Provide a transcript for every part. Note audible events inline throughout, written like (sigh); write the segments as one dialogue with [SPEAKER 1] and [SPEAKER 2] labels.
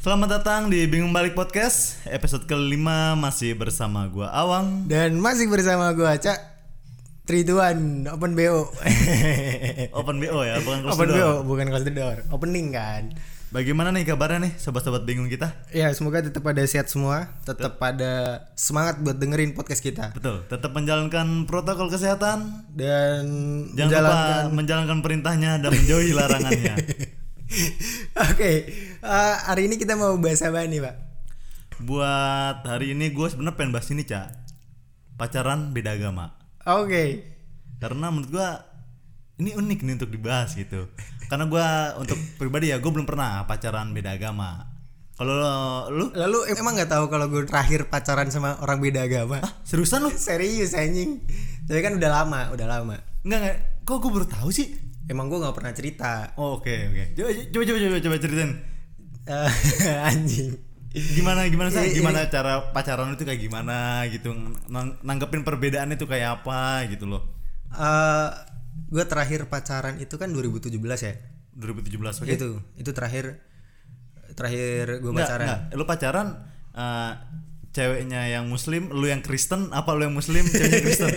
[SPEAKER 1] Selamat datang di Bingung Balik Podcast Episode kelima masih bersama gua Awang
[SPEAKER 2] Dan masih bersama gua Cak Trituan Open BO
[SPEAKER 1] (laughs) Open BO ya bukan close
[SPEAKER 2] Open
[SPEAKER 1] the door.
[SPEAKER 2] BO bukan close the door Opening kan
[SPEAKER 1] Bagaimana nih kabarnya nih sobat-sobat bingung kita?
[SPEAKER 2] Ya semoga tetap pada sehat semua Tetap pada semangat buat dengerin podcast kita
[SPEAKER 1] Betul, tetap menjalankan protokol kesehatan
[SPEAKER 2] Dan
[SPEAKER 1] Jangan
[SPEAKER 2] menjalankan (laughs)
[SPEAKER 1] lupa menjalankan perintahnya dan menjauhi larangannya
[SPEAKER 2] Oke eh, Hari ini kita mau bahas apa nih pak?
[SPEAKER 1] Buat hari ini gue sebenarnya pengen bahas ini Ca Pacaran beda agama
[SPEAKER 2] Oke
[SPEAKER 1] Karena menurut gua ini unik nih untuk dibahas gitu Karena gua untuk pribadi ya gue belum pernah pacaran beda agama Kalau lo- lu?
[SPEAKER 2] Lalu emang nggak tahu kalau gue terakhir pacaran sama orang beda agama?
[SPEAKER 1] (laughs) Seriusan lu?
[SPEAKER 2] Serius anjing Tapi kan udah lama udah lama
[SPEAKER 1] Enggak, enggak. Kok gue baru tahu sih?
[SPEAKER 2] Emang gue nggak pernah cerita (laughs)
[SPEAKER 1] Oh, oke, oke. Coba, coba, coba, coba, coba ceritain.
[SPEAKER 2] Eh, Anjing
[SPEAKER 1] Gimana, gimana sih?
[SPEAKER 2] Ini-
[SPEAKER 1] Gimana cara pacaran itu kayak gimana gitu? Nang- nanggepin perbedaan itu kayak apa gitu loh?
[SPEAKER 2] gue Eh, terakhir pacaran itu kan 2017 ya
[SPEAKER 1] 2017 oke.
[SPEAKER 2] itu itu terakhir terakhir gue
[SPEAKER 1] Enggak,
[SPEAKER 2] pacaran
[SPEAKER 1] enggak. Lu pacaran eh, ceweknya yang muslim, lu yang Kristen, apa lu yang muslim, ceweknya
[SPEAKER 2] (laughs)
[SPEAKER 1] Kristen?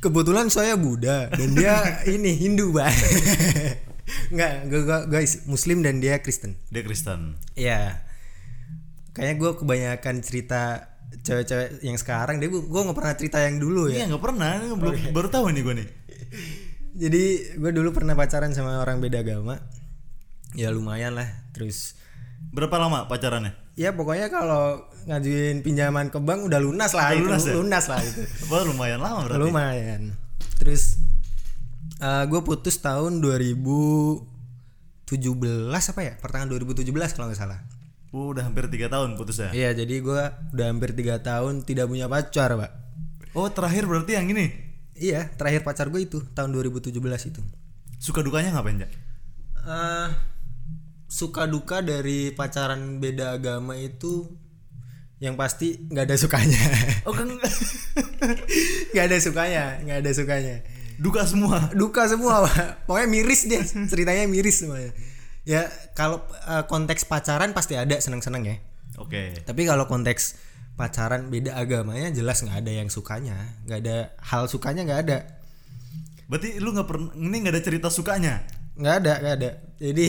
[SPEAKER 2] kebetulan saya Buddha dan dia (laughs) ini Hindu pak nggak gue Muslim dan dia Kristen
[SPEAKER 1] Dia Kristen.
[SPEAKER 2] ya kayaknya gue kebanyakan cerita cewek-cewek yang sekarang dia gue nggak pernah cerita yang dulu ya
[SPEAKER 1] Iya, enggak pernah, ini belum baru tahu nih gue nih.
[SPEAKER 2] jadi gue dulu pernah pacaran sama orang beda agama ya lumayan lah terus
[SPEAKER 1] Berapa lama
[SPEAKER 2] (laughs)
[SPEAKER 1] pacarannya?
[SPEAKER 2] Ya pokoknya kalau ngajuin pinjaman ke bank udah lunas lah,
[SPEAKER 1] Udah
[SPEAKER 2] itu,
[SPEAKER 1] lunas
[SPEAKER 2] lunas,
[SPEAKER 1] ya?
[SPEAKER 2] lah itu.
[SPEAKER 1] Wah, lumayan lama (laughs) berarti.
[SPEAKER 2] Lumayan. Terus gue putus tahun 2017 apa ya? Pertengahan 2017 kalau nggak salah.
[SPEAKER 1] Udah hampir 3 tahun putusnya.
[SPEAKER 2] Iya, jadi gue udah hampir tiga tahun tidak punya pacar, Pak.
[SPEAKER 1] Oh, terakhir berarti yang ini.
[SPEAKER 2] Iya, terakhir pacar gue itu tahun 2017 itu.
[SPEAKER 1] Suka dukanya ngapain, Cak?
[SPEAKER 2] Eh, suka duka dari pacaran beda agama itu yang pasti nggak ada sukanya.
[SPEAKER 1] (laughs) Oh, kan
[SPEAKER 2] nggak ada sukanya nggak ada sukanya
[SPEAKER 1] duka
[SPEAKER 2] (laughs)
[SPEAKER 1] semua.
[SPEAKER 2] duka semua Pak. pokoknya miris deh ceritanya miris semuanya ya kalau eh, konteks pacaran pasti ada seneng seneng ya
[SPEAKER 1] Oke.
[SPEAKER 2] tapi kalau konteks pacaran beda agamanya jelas nggak ada yang sukanya nggak ada hal sukanya nggak ada
[SPEAKER 1] Berarti lu nggak pernah ini nggak ada cerita sukanya.
[SPEAKER 2] nggak ada nggak ada jadi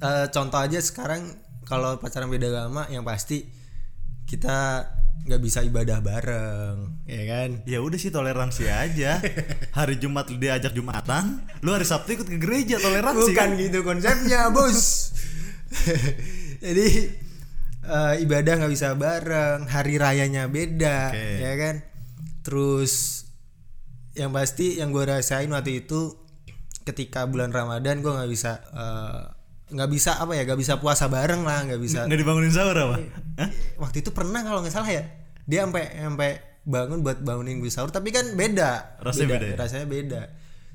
[SPEAKER 2] eh, contoh aja sekarang kalau pacaran beda agama yang pasti kita nggak bisa ibadah bareng ya kan
[SPEAKER 1] Ya udah sih toleransi
[SPEAKER 2] (laughs)
[SPEAKER 1] aja. Hari Jumat lu diajak Jumatan, lu hari Sabtu ikut ke gereja toleransi.
[SPEAKER 2] Bukan gitu konsepnya, bos. (laughs) Jadi eh, ibadah nggak bisa bareng, hari rayanya beda,
[SPEAKER 1] Oke.
[SPEAKER 2] ya kan. Terus yang pasti yang gue rasain waktu itu ketika bulan Ramadan gue nggak bisa eh, nggak bisa apa ya nggak bisa puasa bareng lah nggak bisa
[SPEAKER 1] kan? Nggak dibangunin sahur apa?
[SPEAKER 2] Iya.
[SPEAKER 1] Hah?
[SPEAKER 2] waktu itu pernah kalau nggak salah ya dia sampai sampai bangun buat bangunin gue sahur tapi kan beda
[SPEAKER 1] Rasanya beda ya?
[SPEAKER 2] rasanya beda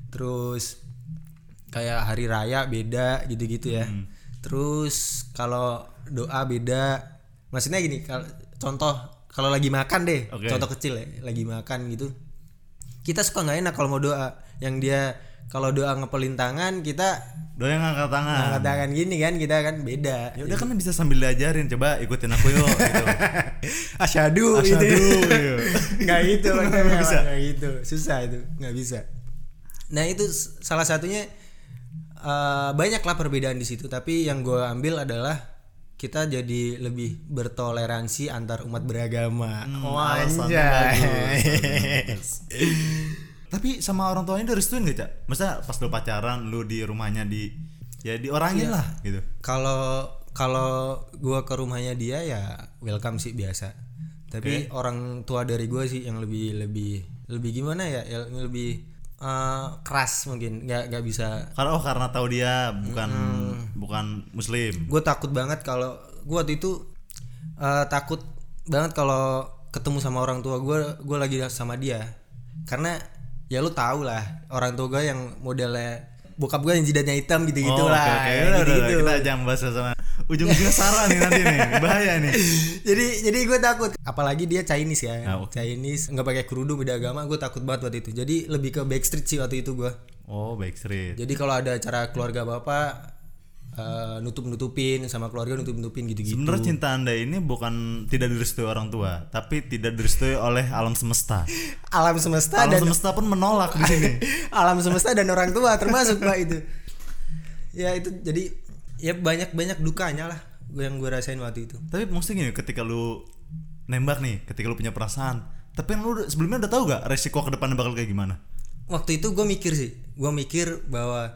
[SPEAKER 2] terus kayak hari raya beda gitu-gitu ya
[SPEAKER 1] Hmm.
[SPEAKER 2] terus kalau doa beda maksudnya gini kalau contoh kalau lagi makan deh
[SPEAKER 1] Oke.
[SPEAKER 2] contoh kecil ya lagi makan gitu kita suka nggak enak kalau mau doa yang dia kalau doa ngepelin tangan kita
[SPEAKER 1] Doa yang ngangkat tangan.
[SPEAKER 2] angkat tangan gini kan kita kan beda
[SPEAKER 1] Ya udah kan bisa sambil diajarin, coba ikutin aku yuk gitu.
[SPEAKER 2] (laughs) asyadu,
[SPEAKER 1] Asyhadu,
[SPEAKER 2] gitu.
[SPEAKER 1] iya.
[SPEAKER 2] (laughs) nggak gitu nggak
[SPEAKER 1] bisa.
[SPEAKER 2] bisa nggak gitu susah itu nggak bisa nah itu s- salah satunya eh, banyaklah perbedaan di situ tapi yang gue ambil adalah kita jadi lebih bertoleransi antar umat beragama
[SPEAKER 1] Hmm.
[SPEAKER 2] Oh.
[SPEAKER 1] Oh,
[SPEAKER 2] Wah,
[SPEAKER 1] alasannya
[SPEAKER 2] (laughs)
[SPEAKER 1] bagus. Tapi sama orang tuanya udah restuin gak, Cak? Masa pas lu pacaran, lu di rumahnya di ya
[SPEAKER 2] Iya.
[SPEAKER 1] diorangin lah gitu.
[SPEAKER 2] kalau kalau gue ke rumahnya dia ya welcome sih biasa tapi orang tua dari gue sih yang lebih lebih lebih gimana ya yang lebih eh, keras mungkin nggak nggak bisa
[SPEAKER 1] Karena oh karena tahu dia bukan bukan muslim.
[SPEAKER 2] gue takut banget kalau gue waktu itu eh, takut banget kalau ketemu sama orang tua gue gue lagi sama dia karena ya lu tau lah orang tua gue yang modelnya bokap gue yang jidatnya hitam gitu gitu
[SPEAKER 1] Oh,
[SPEAKER 2] lah
[SPEAKER 1] oke, oke.
[SPEAKER 2] kayak
[SPEAKER 1] Udah,
[SPEAKER 2] gitu,
[SPEAKER 1] udah, udah.
[SPEAKER 2] gitu-gitu.
[SPEAKER 1] Kita jangan bahas sama
[SPEAKER 2] (laughs)
[SPEAKER 1] ujung-ujungnya Sarah nih nanti nih. Bahaya nih.
[SPEAKER 2] jadi jadi gue takut apalagi dia Chinese ya
[SPEAKER 1] Ah, oke.
[SPEAKER 2] Chinese nggak pakai kerudung beda agama gue takut banget waktu itu jadi lebih ke backstreet sih waktu itu gue Gitu.
[SPEAKER 1] Oh, backstreet.
[SPEAKER 2] jadi kalau ada acara keluarga bapak eh, nutup-nutupin sama keluarga nutup-nutupin gitu-gitu.
[SPEAKER 1] Sebenarnya cinta anda ini bukan tidak direstui orang tua, tapi tidak direstui oleh alam
[SPEAKER 2] (laughs)
[SPEAKER 1] semesta.
[SPEAKER 2] Alam semesta
[SPEAKER 1] Alam
[SPEAKER 2] dan
[SPEAKER 1] semesta pun menolak di
[SPEAKER 2] (laughs)
[SPEAKER 1] sini.
[SPEAKER 2] alam semesta dan orang tua termasuk Pak itu. Ya itu jadi ya banyak-banyak dukanya lah yang gue rasain waktu itu.
[SPEAKER 1] tapi mesti gini, ketika lu nembak nih, ketika lu punya perasaan, tapi kan lu udah- sebelumnya udah tahu gak resiko ke depannya bakal kayak gimana?
[SPEAKER 2] Waktu itu gue mikir sih, gue mikir bahwa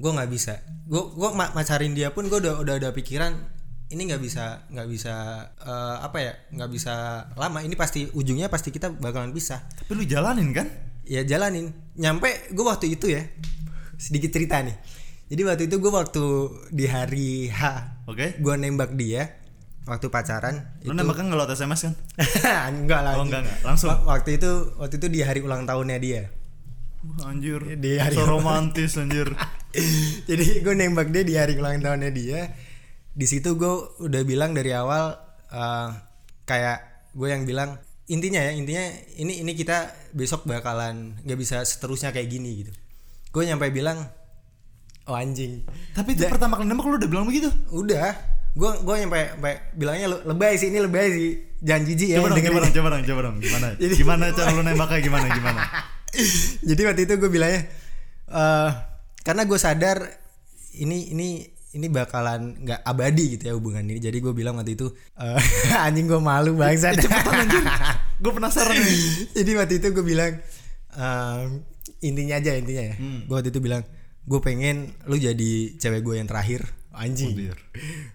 [SPEAKER 2] gue nggak bisa. Gue gue ma- macarin dia pun gue udah udah ada pikiran ini nggak bisa nggak bisa eh, apa ya nggak bisa lama ini pasti ujungnya pasti kita bakalan pisah
[SPEAKER 1] Tapi lu jalanin kan?
[SPEAKER 2] ya jalanin nyampe gue waktu itu ya sedikit cerita nih jadi waktu itu gue waktu di hari H
[SPEAKER 1] Oke.
[SPEAKER 2] gue nembak dia waktu pacaran
[SPEAKER 1] Lu nembak kan nggak lewat SMS kan?
[SPEAKER 2] (laughs) enggak lah
[SPEAKER 1] Oh,
[SPEAKER 2] anjing.
[SPEAKER 1] enggak, enggak. Langsung.
[SPEAKER 2] Wa- waktu itu waktu itu di hari ulang tahunnya dia (laughs)
[SPEAKER 1] Wah, Anjir,
[SPEAKER 2] Di hari
[SPEAKER 1] so romantis (laughs) anjir.
[SPEAKER 2] jadi gue nembak dia di hari ulang tahunnya dia di situ gue udah bilang dari awal eh, kayak gue yang bilang intinya ya intinya ini ini kita besok bakalan nggak bisa seterusnya kayak gini gitu gue nyampe bilang oh anjing
[SPEAKER 1] Tapi itu pertama kali nembak lu udah bilang begitu?
[SPEAKER 2] udah gue gue nyampe, nyampe bilangnya "Lu- lebay sih ini lebay sih jangan jijik ya
[SPEAKER 1] Coba dong,
[SPEAKER 2] dengerin."
[SPEAKER 1] coba Eh, dong, coba dong, coba dong. (laughs) Gimana? Gimana cara lu nembaknya gimana (laughs) gimana?
[SPEAKER 2] Jadi waktu itu gue bilangnya eh karena gue sadar ini ini ini bakalan nggak abadi gitu ya hubungan ini. Jadi gue bilang waktu itu eh, (laughs) anjing gue malu bangsa.
[SPEAKER 1] Gue penasaran nih.
[SPEAKER 2] (laughs) Jadi waktu itu gue bilang em, intinya aja intinya ya. Gue waktu itu bilang gue pengen lu jadi cewek gue yang terakhir anjing.
[SPEAKER 1] dear.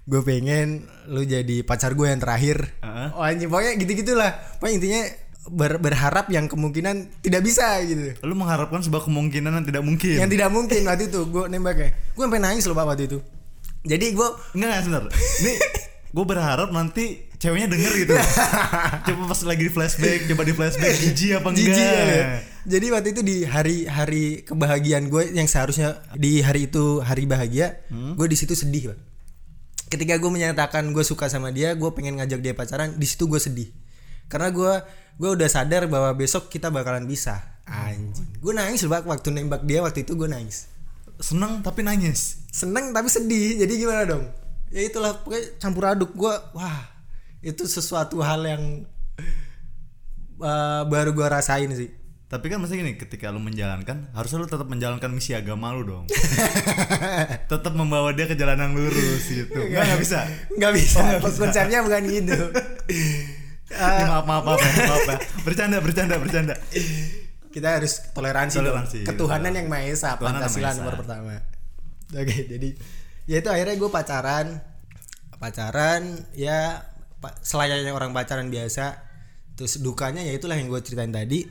[SPEAKER 2] gue pengen lu jadi pacar gue yang terakhir.
[SPEAKER 1] Heeh.
[SPEAKER 2] Oh anjing pokoknya gitu gitulah. Pokoknya intinya ber- berharap yang kemungkinan tidak bisa gitu
[SPEAKER 1] (laughs) Lu mengharapkan sebuah kemungkinan yang tidak mungkin.
[SPEAKER 2] yang tidak mungkin waktu itu gue nembaknya gue sampai nangis loh pak waktu itu jadi gue
[SPEAKER 1] Enggak, enggak sebentar. Ini
[SPEAKER 2] (laughs)
[SPEAKER 1] gue berharap nanti ceweknya denger gitu. (laughs) coba pas lagi di flashback, coba di (laughs) flashback jijik apa enggak.
[SPEAKER 2] jijik ya. jadi waktu itu di hari hari kebahagiaan gue yang seharusnya di hari itu hari bahagia gue di situ sedih pak ketika gue menyatakan gue suka sama dia gue pengen ngajak dia pacaran di situ gue sedih karena gue gue udah sadar bahwa besok kita bakalan bisa anjing gue nangis loh pak waktu nembak dia waktu itu gue nangis
[SPEAKER 1] Seneng tapi nangis.
[SPEAKER 2] seneng tapi sedih jadi gimana dong ya itulah pokoknya campur aduk gua wah itu sesuatu hal yang eh, baru gua rasain sih
[SPEAKER 1] Tapi kan mesti gini, ketika lu menjalankan, harusnya lu tetap menjalankan misi agama lu dong. tetap membawa dia ke jalan yang lurus gitu. Enggak, enggak bisa.
[SPEAKER 2] nggak bisa konsepnya bukan gitu
[SPEAKER 1] Ini maaf, maaf, maaf, ya, maaf, ya. Bercanda, bercanda, bercanda.
[SPEAKER 2] kita harus toleransi, dong.
[SPEAKER 1] Toleransi, iya.
[SPEAKER 2] ketuhanan yang maha esa
[SPEAKER 1] Ketuhanan yang
[SPEAKER 2] pancasila
[SPEAKER 1] Maha Esa.
[SPEAKER 2] nomor pertama oke jadi ya itu akhirnya gue pacaran pacaran ya pa- selayaknya orang pacaran biasa terus dukanya ya itulah yang gue ceritain tadi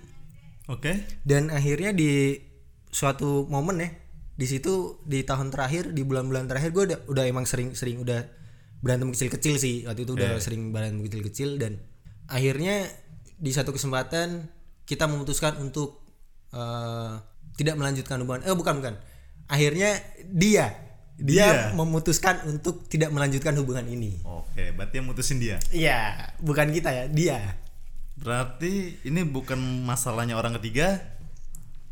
[SPEAKER 1] Oke.
[SPEAKER 2] dan akhirnya di suatu momen ya di situ di tahun terakhir di bulan-bulan terakhir gue udah, udah emang sering-sering udah berantem kecil-kecil sih waktu itu udah sering berantem kecil-kecil dan akhirnya di satu kesempatan kita memutuskan untuk eh, tidak melanjutkan hubungan eh bukan bukan akhirnya dia dia
[SPEAKER 1] Dia.
[SPEAKER 2] memutuskan untuk tidak melanjutkan hubungan ini
[SPEAKER 1] Oke, berarti yang mutusin dia.
[SPEAKER 2] iya bukan kita ya dia
[SPEAKER 1] Berarti ini bukan masalahnya orang ketiga,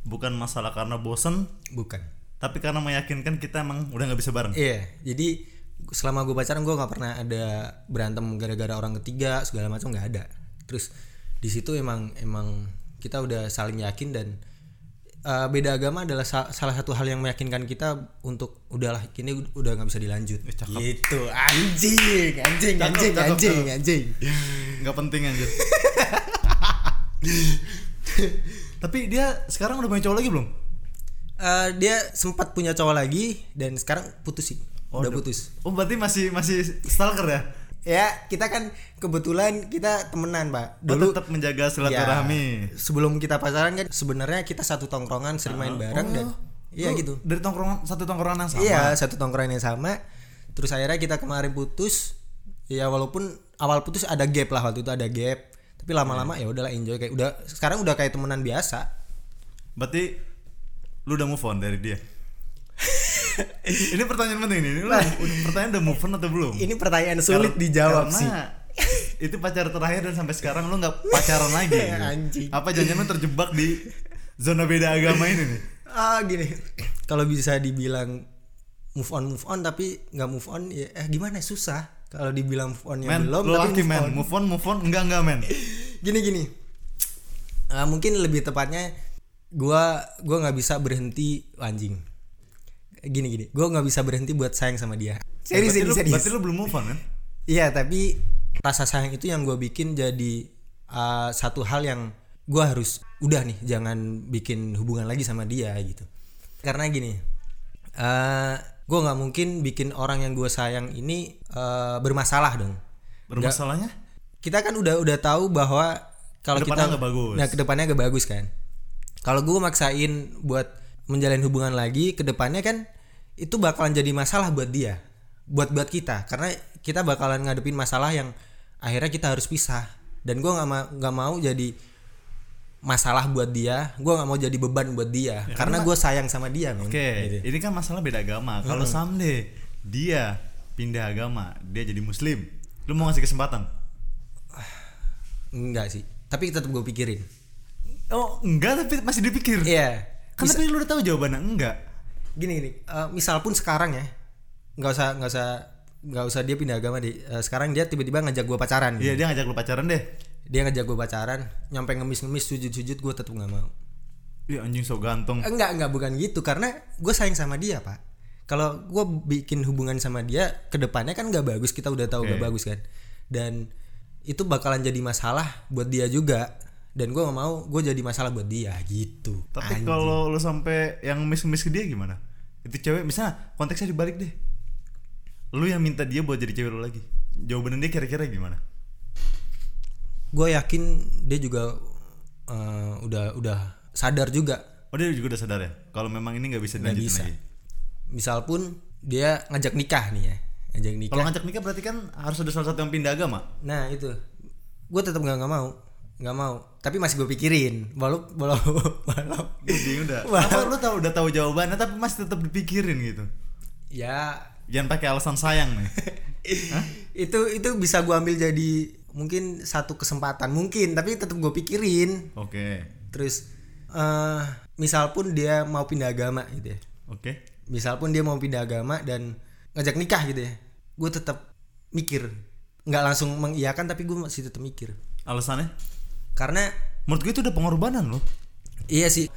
[SPEAKER 1] bukan masalah karena bosen,
[SPEAKER 2] bukan
[SPEAKER 1] tapi karena meyakinkan kita emang udah nggak bisa bareng.
[SPEAKER 2] Iya, jadi selama gue pacaran gue nggak pernah ada berantem gara-gara orang ketiga segala macam nggak ada. Terus di situ emang emang kita udah saling yakin dan eh, beda agama adalah sa- salah satu hal yang meyakinkan kita untuk udahlah kini udah nggak bisa dilanjut. Gitu anjing, anjing,
[SPEAKER 1] Eh, Cakep,
[SPEAKER 2] anjing,
[SPEAKER 1] cakep,
[SPEAKER 2] anjing,
[SPEAKER 1] cakep.
[SPEAKER 2] anjing.
[SPEAKER 1] Nggak penting anjir. tapi dia sekarang udah punya cowok lagi belum?
[SPEAKER 2] Eh, dia sempat punya cowok lagi dan sekarang putus sih, udah putus.
[SPEAKER 1] Oh berarti masih masih stalker ya?
[SPEAKER 2] Ya kita kan kebetulan kita temenan pak.
[SPEAKER 1] Oh,
[SPEAKER 2] Dulu
[SPEAKER 1] tetap menjaga
[SPEAKER 2] Ya,
[SPEAKER 1] silaturahmi.
[SPEAKER 2] sebelum kita pacaran kan sebenarnya kita satu tongkrongan sering main bareng dan iya
[SPEAKER 1] Lu
[SPEAKER 2] gitu.
[SPEAKER 1] Dari tongkrongan satu tongkrongan yang sama.
[SPEAKER 2] Iya, satu tongkrongan yang sama. Terus akhirnya kita kemarin putus. Ya walaupun awal putus ada gap lah waktu itu ada gap. Tapi lama-lama ya udahlah enjoy kayak udah sekarang udah kayak temenan biasa.
[SPEAKER 1] Berarti lu udah move on dari
[SPEAKER 2] (laughs)
[SPEAKER 1] dia. ini pertanyaan penting nih. Ini lu pertanyaan udah move on atau belum?
[SPEAKER 2] Nah. Ini pertanyaan sulit dijawab
[SPEAKER 1] karena
[SPEAKER 2] sih.
[SPEAKER 1] (laughs) itu pacar terakhir dan sampai sekarang lu nggak
[SPEAKER 2] (laughs)
[SPEAKER 1] pacaran lagi gitu.
[SPEAKER 2] Anjing.
[SPEAKER 1] apa jangan terjebak di zona beda agama ini nih
[SPEAKER 2] Ah gini, kalau bisa dibilang move on move on tapi nggak move on ya eh gimana susah kalau dibilang move onnya
[SPEAKER 1] Men,
[SPEAKER 2] Ya belum
[SPEAKER 1] lo
[SPEAKER 2] tapi
[SPEAKER 1] aktif
[SPEAKER 2] move
[SPEAKER 1] men.
[SPEAKER 2] on.
[SPEAKER 1] Move on, move on. Enggak, enggak men.
[SPEAKER 2] gini gini Eh, mungkin lebih tepatnya gua gua nggak bisa berhenti anjing gini gini gua nggak bisa berhenti buat sayang sama dia
[SPEAKER 1] Berarti
[SPEAKER 2] serius serius
[SPEAKER 1] lu-
[SPEAKER 2] serius
[SPEAKER 1] Berarti lu belum move on kan?
[SPEAKER 2] iya tapi rasa sayang itu yang gua bikin jadi eh, satu hal yang gua harus udah nih jangan bikin hubungan lagi sama dia gitu karena gini eh gue nggak mungkin bikin orang yang gue sayang ini eh, bermasalah dong
[SPEAKER 1] Bermasalahnya?
[SPEAKER 2] kita kan udah udah tahu bahwa kalau kita
[SPEAKER 1] Kedepannya nggak bagus.
[SPEAKER 2] Nah, kedepannya gak bagus kan. Kalau gue maksain buat menjalin hubungan lagi, kedepannya kan itu bakalan jadi masalah buat dia, buat buat kita, karena kita bakalan ngadepin masalah yang akhirnya kita harus pisah. Dan gue nggak mau nggak mau jadi masalah buat dia, gue nggak mau jadi beban buat dia, karena, gue sayang sama dia, men.
[SPEAKER 1] Ya,
[SPEAKER 2] Gitu.
[SPEAKER 1] Oke, ini kan masalah beda agama. Kalau someday dia pindah agama, dia jadi muslim. Lu mau ngasih kesempatan?
[SPEAKER 2] Enggak sih, tapi tetap gue pikirin.
[SPEAKER 1] Oh, enggak tapi masih dipikir.
[SPEAKER 2] Iya.
[SPEAKER 1] Kan tapi lu udah tahu jawabannya enggak.
[SPEAKER 2] gini gini eh, misal pun sekarang ya nggak usah nggak usah nggak usah dia pindah agama deh Eh, sekarang dia tiba-tiba ngajak gue pacaran
[SPEAKER 1] Iya, dia ngajak lu pacaran deh.
[SPEAKER 2] dia ngajak gue pacaran nyampe ngemis-ngemis sujud-sujud gue tetap nggak mau
[SPEAKER 1] Iya anjing so ganteng.
[SPEAKER 2] enggak enggak bukan gitu karena gue sayang sama dia pak kalau gue bikin hubungan sama dia kedepannya kan nggak bagus kita udah tahu nggak bagus kan dan itu bakalan jadi masalah buat dia juga dan gue nggak mau gue jadi masalah buat dia gitu
[SPEAKER 1] Tapi kalau lu sampai yang miss-miss ke dia gimana? Itu cewek misalnya konteksnya dibalik deh. Lu yang minta dia buat jadi cewek lu lagi. Jawabannya dia kira-kira gimana?
[SPEAKER 2] gue yakin dia juga eh, udah udah sadar juga
[SPEAKER 1] Oh dia juga udah sadar ya kalau memang ini nggak bisa
[SPEAKER 2] nggak
[SPEAKER 1] dilanjutin
[SPEAKER 2] bisa
[SPEAKER 1] lagi.
[SPEAKER 2] misal pun dia ngajak nikah nih ya ngajak nikah
[SPEAKER 1] Kalau ngajak nikah berarti kan harus ada salah satu yang pindah agama.
[SPEAKER 2] nah itu gue tetap nggak nggak mau nggak mau tapi masih gue pikirin walau walau (laughs) walau
[SPEAKER 1] Gue bingung dah. Apa lu tahu udah tahu jawabannya tapi masih tetap dipikirin gitu.
[SPEAKER 2] ya
[SPEAKER 1] Jangan pakai alasan sayang
[SPEAKER 2] (laughs)
[SPEAKER 1] nih.
[SPEAKER 2] itu itu bisa gue ambil jadi mungkin satu kesempatan mungkin tapi tetap gue pikirin
[SPEAKER 1] Oke.
[SPEAKER 2] terus eh misal pun dia mau pindah agama gitu ya
[SPEAKER 1] Oke.
[SPEAKER 2] misal pun dia mau pindah agama dan ngajak nikah gitu ya gue tetap mikir nggak langsung mengiyakan tapi gue masih tetap mikir
[SPEAKER 1] Alasannya
[SPEAKER 2] karena
[SPEAKER 1] menurut gue itu udah pengorbanan loh.
[SPEAKER 2] iya sih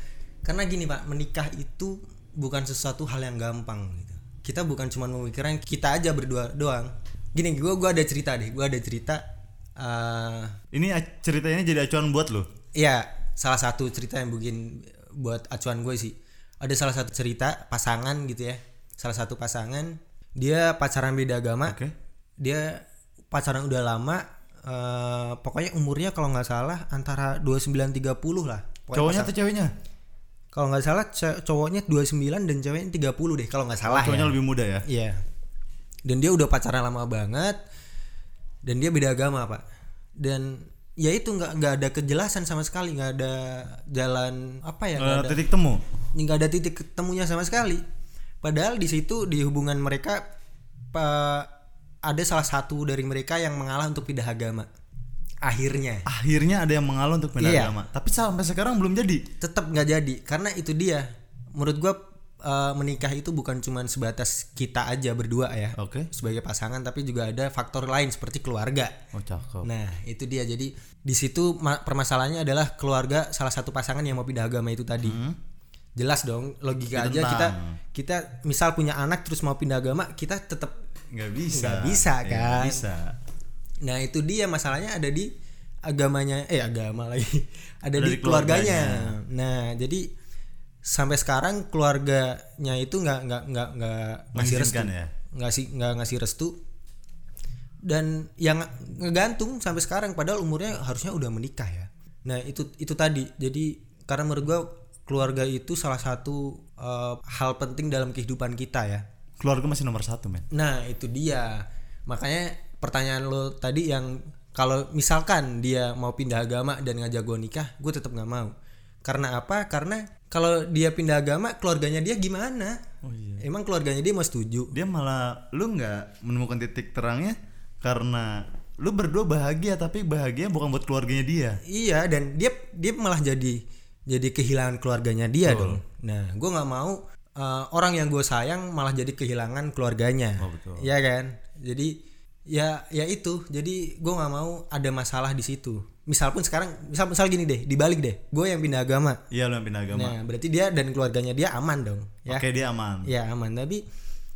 [SPEAKER 2] karena gini pak menikah itu bukan sesuatu hal yang gampang gitu kita bukan cuma memikirkan kita aja berdua doang gini gue gua ada cerita deh gue ada cerita eh
[SPEAKER 1] Ini ac- ceritanya jadi acuan buat lo.
[SPEAKER 2] Iya, salah satu cerita yang bikin buat acuan gue sih. Ada salah satu cerita pasangan gitu ya. Salah satu pasangan dia pacaran beda agama.
[SPEAKER 1] Oke.
[SPEAKER 2] Dia pacaran udah lama eh, pokoknya umurnya kalau nggak salah antara 29 30 lah. Pokoknya
[SPEAKER 1] Cowoknya atau ceweknya?
[SPEAKER 2] Kalau nggak salah ce- cowoknya 29 dan ceweknya 30 deh kalau nggak salah. ya.
[SPEAKER 1] Cowoknya lebih muda ya.
[SPEAKER 2] Iya. Dan dia udah pacaran lama banget. Dan dia beda agama pak. Dan ya itu nggak nggak ada kejelasan sama sekali, nggak ada jalan apa ya, nggak
[SPEAKER 1] Eh,
[SPEAKER 2] ada
[SPEAKER 1] titik temu.
[SPEAKER 2] nggak ada titik ketemunya sama sekali. Padahal di situ di hubungan mereka pa- ada salah satu dari mereka yang mengalah untuk pindah agama. Akhirnya
[SPEAKER 1] Akhirnya ada yang mengalah untuk pindah
[SPEAKER 2] Iya.
[SPEAKER 1] agama. Tapi sampai sekarang belum jadi.
[SPEAKER 2] tetap nggak jadi karena itu dia. Menurut gua eh, menikah itu bukan cuman sebatas kita aja berdua ya.
[SPEAKER 1] Oke.
[SPEAKER 2] sebagai pasangan tapi juga ada faktor lain seperti keluarga.
[SPEAKER 1] Oh cakep.
[SPEAKER 2] Nah, itu dia. Jadi di situ ma- permasalahannya adalah keluarga salah satu pasangan yang mau pindah agama itu tadi. Jelas dong, logika aja
[SPEAKER 1] Ditentang.
[SPEAKER 2] kita kita misal punya anak terus mau pindah agama, kita tetap
[SPEAKER 1] Nggak bisa.
[SPEAKER 2] Nggak bisa,
[SPEAKER 1] Iya, nggak
[SPEAKER 2] kan?
[SPEAKER 1] bisa.
[SPEAKER 2] Nah, itu dia masalahnya ada di agamanya eh agama (laughs) lagi. ada
[SPEAKER 1] Ada
[SPEAKER 2] di
[SPEAKER 1] di
[SPEAKER 2] keluarganya. Nah, jadi sampai sekarang keluarganya itu nggak nggak nggak nggak ngasih restu
[SPEAKER 1] Mengizinkan ya.
[SPEAKER 2] nggak sih nggak ngasih restu dan yang ngegantung sampai sekarang padahal umurnya harusnya udah menikah ya nah itu itu tadi jadi karena menurut gua keluarga itu salah satu eh, hal penting dalam kehidupan kita ya
[SPEAKER 1] Keluarga masih nomor satu men.
[SPEAKER 2] nah itu dia makanya pertanyaan lo tadi yang kalau misalkan dia mau pindah agama dan ngajak gua nikah gue tetap nggak mau karena apa karena kalau dia pindah agama keluarganya dia gimana emang keluarganya dia mau setuju
[SPEAKER 1] dia malah lu nggak menemukan titik terangnya karena lu berdua bahagia tapi bahagia bukan buat keluarganya dia
[SPEAKER 2] Iya dan dia dia malah jadi jadi kehilangan keluarganya dia dong. Nah, gue nggak mau eh, orang yang gue sayang malah jadi kehilangan keluarganya
[SPEAKER 1] Oh, betul.
[SPEAKER 2] Iya kan jadi ya ya itu jadi gue nggak mau ada masalah di situ misal pun sekarang misal misal gini deh dibalik deh gue yang pindah agama
[SPEAKER 1] Iya lu yang pindah agama.
[SPEAKER 2] nah berarti dia dan keluarganya dia aman dong ya
[SPEAKER 1] Oke dia aman.
[SPEAKER 2] ya aman tapi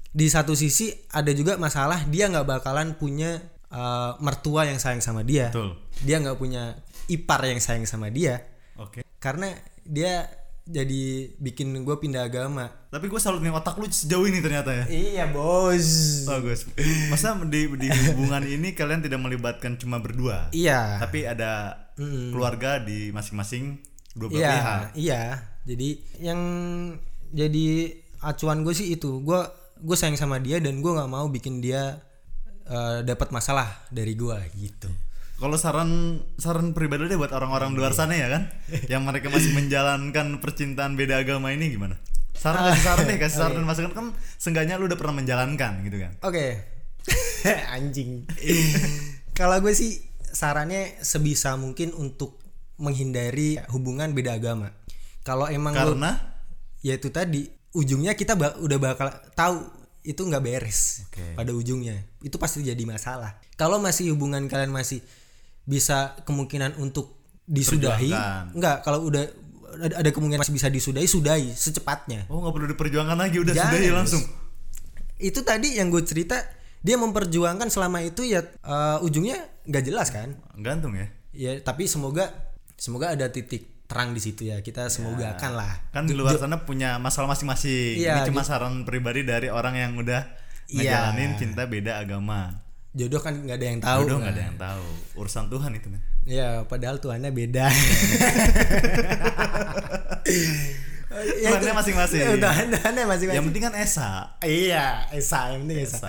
[SPEAKER 2] di satu sisi ada juga masalah dia nggak bakalan punya eh, mertua yang sayang sama dia
[SPEAKER 1] Betul.
[SPEAKER 2] dia nggak punya ipar yang sayang sama dia
[SPEAKER 1] Oke.
[SPEAKER 2] karena dia jadi bikin gue pindah agama
[SPEAKER 1] Tapi gue salut nih otak lu sejauh ini ternyata ya.
[SPEAKER 2] iya bos
[SPEAKER 1] Bagus. Masa di, di hubungan ini kalian tidak melibatkan cuma berdua,
[SPEAKER 2] iya
[SPEAKER 1] tapi ada keluarga di masing-masing dua belah
[SPEAKER 2] iya
[SPEAKER 1] pihak.
[SPEAKER 2] iya jadi yang jadi acuan gue sih itu gue gue sayang sama dia dan gue nggak mau bikin dia eh, dapat masalah dari gue gitu
[SPEAKER 1] Kalau saran saran pribadi deh buat orang-orang luar sana ya kan, yang mereka masih menjalankan percintaan beda agama ini gimana?
[SPEAKER 2] Ah.
[SPEAKER 1] Saran kasih saran deh, kasih
[SPEAKER 2] (laughs)
[SPEAKER 1] saran dan masukan kan seenggaknya lu udah pernah menjalankan gitu kan. (laughs)
[SPEAKER 2] Oke. Anjing. Kalau gue sih sarannya sebisa mungkin untuk menghindari hubungan beda agama. Kalau emang lo-
[SPEAKER 1] Karena
[SPEAKER 2] ya itu tadi ujungnya kita ba- udah bakal tahu itu nggak beres
[SPEAKER 1] Oke.
[SPEAKER 2] pada ujungnya. Itu pasti jadi masalah. Kalau masih hubungan kalian masih bisa kemungkinan untuk disudahi,
[SPEAKER 1] Perjuangkan.
[SPEAKER 2] nggak kalau udah ada- ada kemungkinan masih bisa disudahi, sudahi secepatnya.
[SPEAKER 1] oh nggak perlu diperjuangkan lagi udah
[SPEAKER 2] Jangan,
[SPEAKER 1] sudah ya
[SPEAKER 2] Gus.
[SPEAKER 1] langsung.
[SPEAKER 2] itu tadi yang gue cerita dia memperjuangkan selama itu ya eh, ujungnya nggak jelas kan
[SPEAKER 1] Gantung ya.
[SPEAKER 2] ya tapi semoga semoga ada titik terang di situ ya kita semoga akan lah
[SPEAKER 1] Kan di luar sana punya masalah masing-masing. Ini
[SPEAKER 2] Iya,
[SPEAKER 1] cuma saran pribadi dari orang yang udah
[SPEAKER 2] Iya.
[SPEAKER 1] ngejalanin cinta beda agama.
[SPEAKER 2] jodoh kan nggak ada yang tahu
[SPEAKER 1] Udah nggak ada yang tahu. Urusan Tuhan itu men.
[SPEAKER 2] ya padahal tuannya beda Ya,
[SPEAKER 1] Tuannya
[SPEAKER 2] itu- (laughs)
[SPEAKER 1] masing-masing.
[SPEAKER 2] ya, tuannya tuannya masing-masing
[SPEAKER 1] Yang penting kan Esa.
[SPEAKER 2] Iya, Esa yang penting Esa.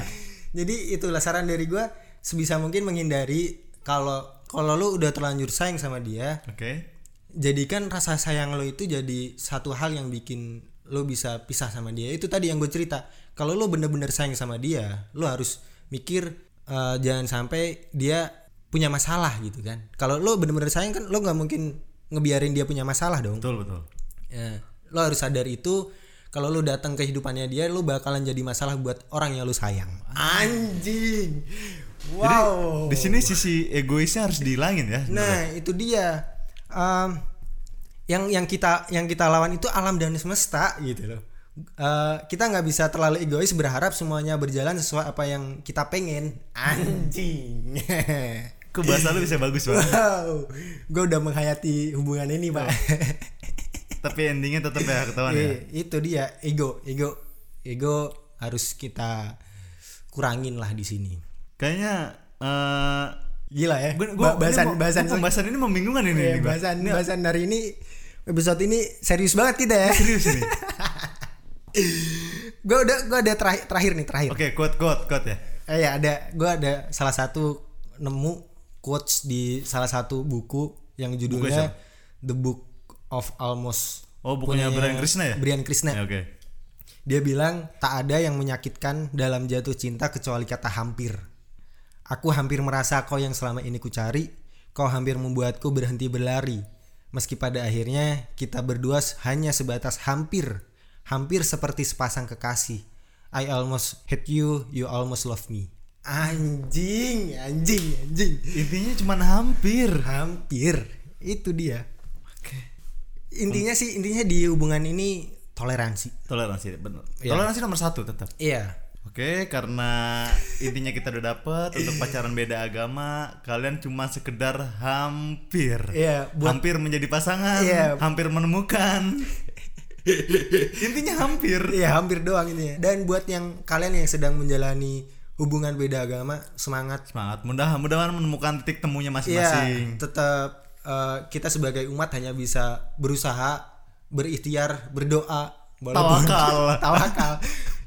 [SPEAKER 2] Jadi itulah saran dari gue sebisa mungkin menghindari kalau kalau lu udah terlanjur sayang sama dia,
[SPEAKER 1] Oke.
[SPEAKER 2] jadikan rasa sayang lo itu jadi satu hal yang bikin lo bisa pisah sama dia itu tadi yang gue cerita kalau lo bener-bener sayang sama dia lo harus mikir eh, jangan sampai dia punya masalah gitu kan kalau lo bener-bener sayang kan lo nggak mungkin ngebiarin dia punya masalah dong
[SPEAKER 1] Betul betul.
[SPEAKER 2] Ya, lo harus sadar itu kalau lo datang ke kehidupannya dia lo bakalan jadi masalah buat orang yang lo sayang anjing wow
[SPEAKER 1] Di sini sisi egoisnya harus dihilangin ya.
[SPEAKER 2] Nah, itu dia. Em, yang yang kita yang kita lawan itu alam dan semesta gitu loh. Eh, kita nggak bisa terlalu egois berharap semuanya berjalan sesuai apa yang kita pengen. Anjing.
[SPEAKER 1] Ke bahasa lu bisa
[SPEAKER 2] iya.
[SPEAKER 1] bagus
[SPEAKER 2] (laughs)
[SPEAKER 1] banget.
[SPEAKER 2] wow, gue udah menghayati hubungan ini pak. (laughs)
[SPEAKER 1] Tapi endingnya tetap ya ketahuan ya.
[SPEAKER 2] Eh, itu dia ego, ego, ego harus kita kurangin lah di sini.
[SPEAKER 1] Kayaknya eh
[SPEAKER 2] Gila ya.
[SPEAKER 1] gua- gua-
[SPEAKER 2] Ba- bahasan
[SPEAKER 1] ini mau-
[SPEAKER 2] bahasan
[SPEAKER 1] pembahasan ini membingungkan ini.
[SPEAKER 2] Iya,
[SPEAKER 1] ini gua.
[SPEAKER 2] bahasan bahasan hari ini episode ini serius banget kita ya.
[SPEAKER 1] Serius
[SPEAKER 2] (laughs)
[SPEAKER 1] ini.
[SPEAKER 2] gue udah gue ada terakhir terakhir nih terakhir.
[SPEAKER 1] Oke, quote quote quote ya.
[SPEAKER 2] Eh ya ada gue ada salah satu nemu quotes di salah satu buku yang judulnya The Book of Almost.
[SPEAKER 1] Oh, bukunya Brian Krishna ya?
[SPEAKER 2] Brian Krishna.
[SPEAKER 1] Ya, Oke.
[SPEAKER 2] Dia bilang tak ada yang menyakitkan dalam jatuh cinta kecuali kata hampir. Aku hampir merasa kau yang selama ini kucari, kau hampir membuatku berhenti berlari. Meski pada akhirnya kita berdua hanya sebatas hampir, hampir seperti sepasang kekasih. I almost hate you, you almost love me. Anjing, anjing, anjing.
[SPEAKER 1] Intinya cuman hampir.
[SPEAKER 2] Hampir, itu dia.
[SPEAKER 1] Oke.
[SPEAKER 2] Intinya sih, intinya di hubungan ini toleransi.
[SPEAKER 1] Toleransi benar. Toleransi nomor satu tetap.
[SPEAKER 2] Iya.
[SPEAKER 1] Oke, karena intinya kita udah dapet untuk pacaran beda agama, kalian cuma sekedar hampir,
[SPEAKER 2] Iya, buat-
[SPEAKER 1] hampir menjadi pasangan,
[SPEAKER 2] Iya.
[SPEAKER 1] hampir menemukan. (laughs) intinya hampir.
[SPEAKER 2] Iya hampir doang ini ya. Dan buat yang kalian yang sedang menjalani hubungan beda agama semangat.
[SPEAKER 1] Semangat, mudah mudahan menemukan titik temunya
[SPEAKER 2] Iya
[SPEAKER 1] masing-masing.
[SPEAKER 2] tetap eh, kita sebagai umat hanya bisa berusaha berikhtiar berdoa
[SPEAKER 1] Tawakal.
[SPEAKER 2] (laughs) tawakal.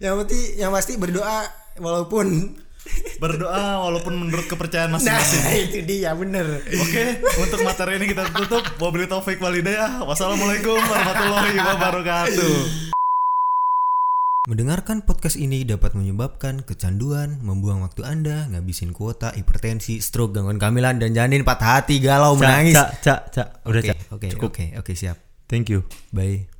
[SPEAKER 2] Yang penting yang pasti berdoa walaupun
[SPEAKER 1] (laughs) Berdoa walaupun menurut kepercayaan
[SPEAKER 2] (laughs) nah
[SPEAKER 1] masing-masing.
[SPEAKER 2] itu dia bener.
[SPEAKER 1] Oke, untuk materi ini kita tutup. Wabillahi taufik walhidayah. Wassalamualaikum warahmatullahi wabarakatuh.
[SPEAKER 2] Mendengarkan podcast ini dapat menyebabkan kecanduan, membuang waktu Anda, ngabisin kuota, hipertensi, stroke, gangguan kehamilan, dan janin patah hati, galau, menangis.
[SPEAKER 1] cak, cak.
[SPEAKER 2] Oke, oke, oke, oke, siap.
[SPEAKER 1] Thank you.
[SPEAKER 2] Bye.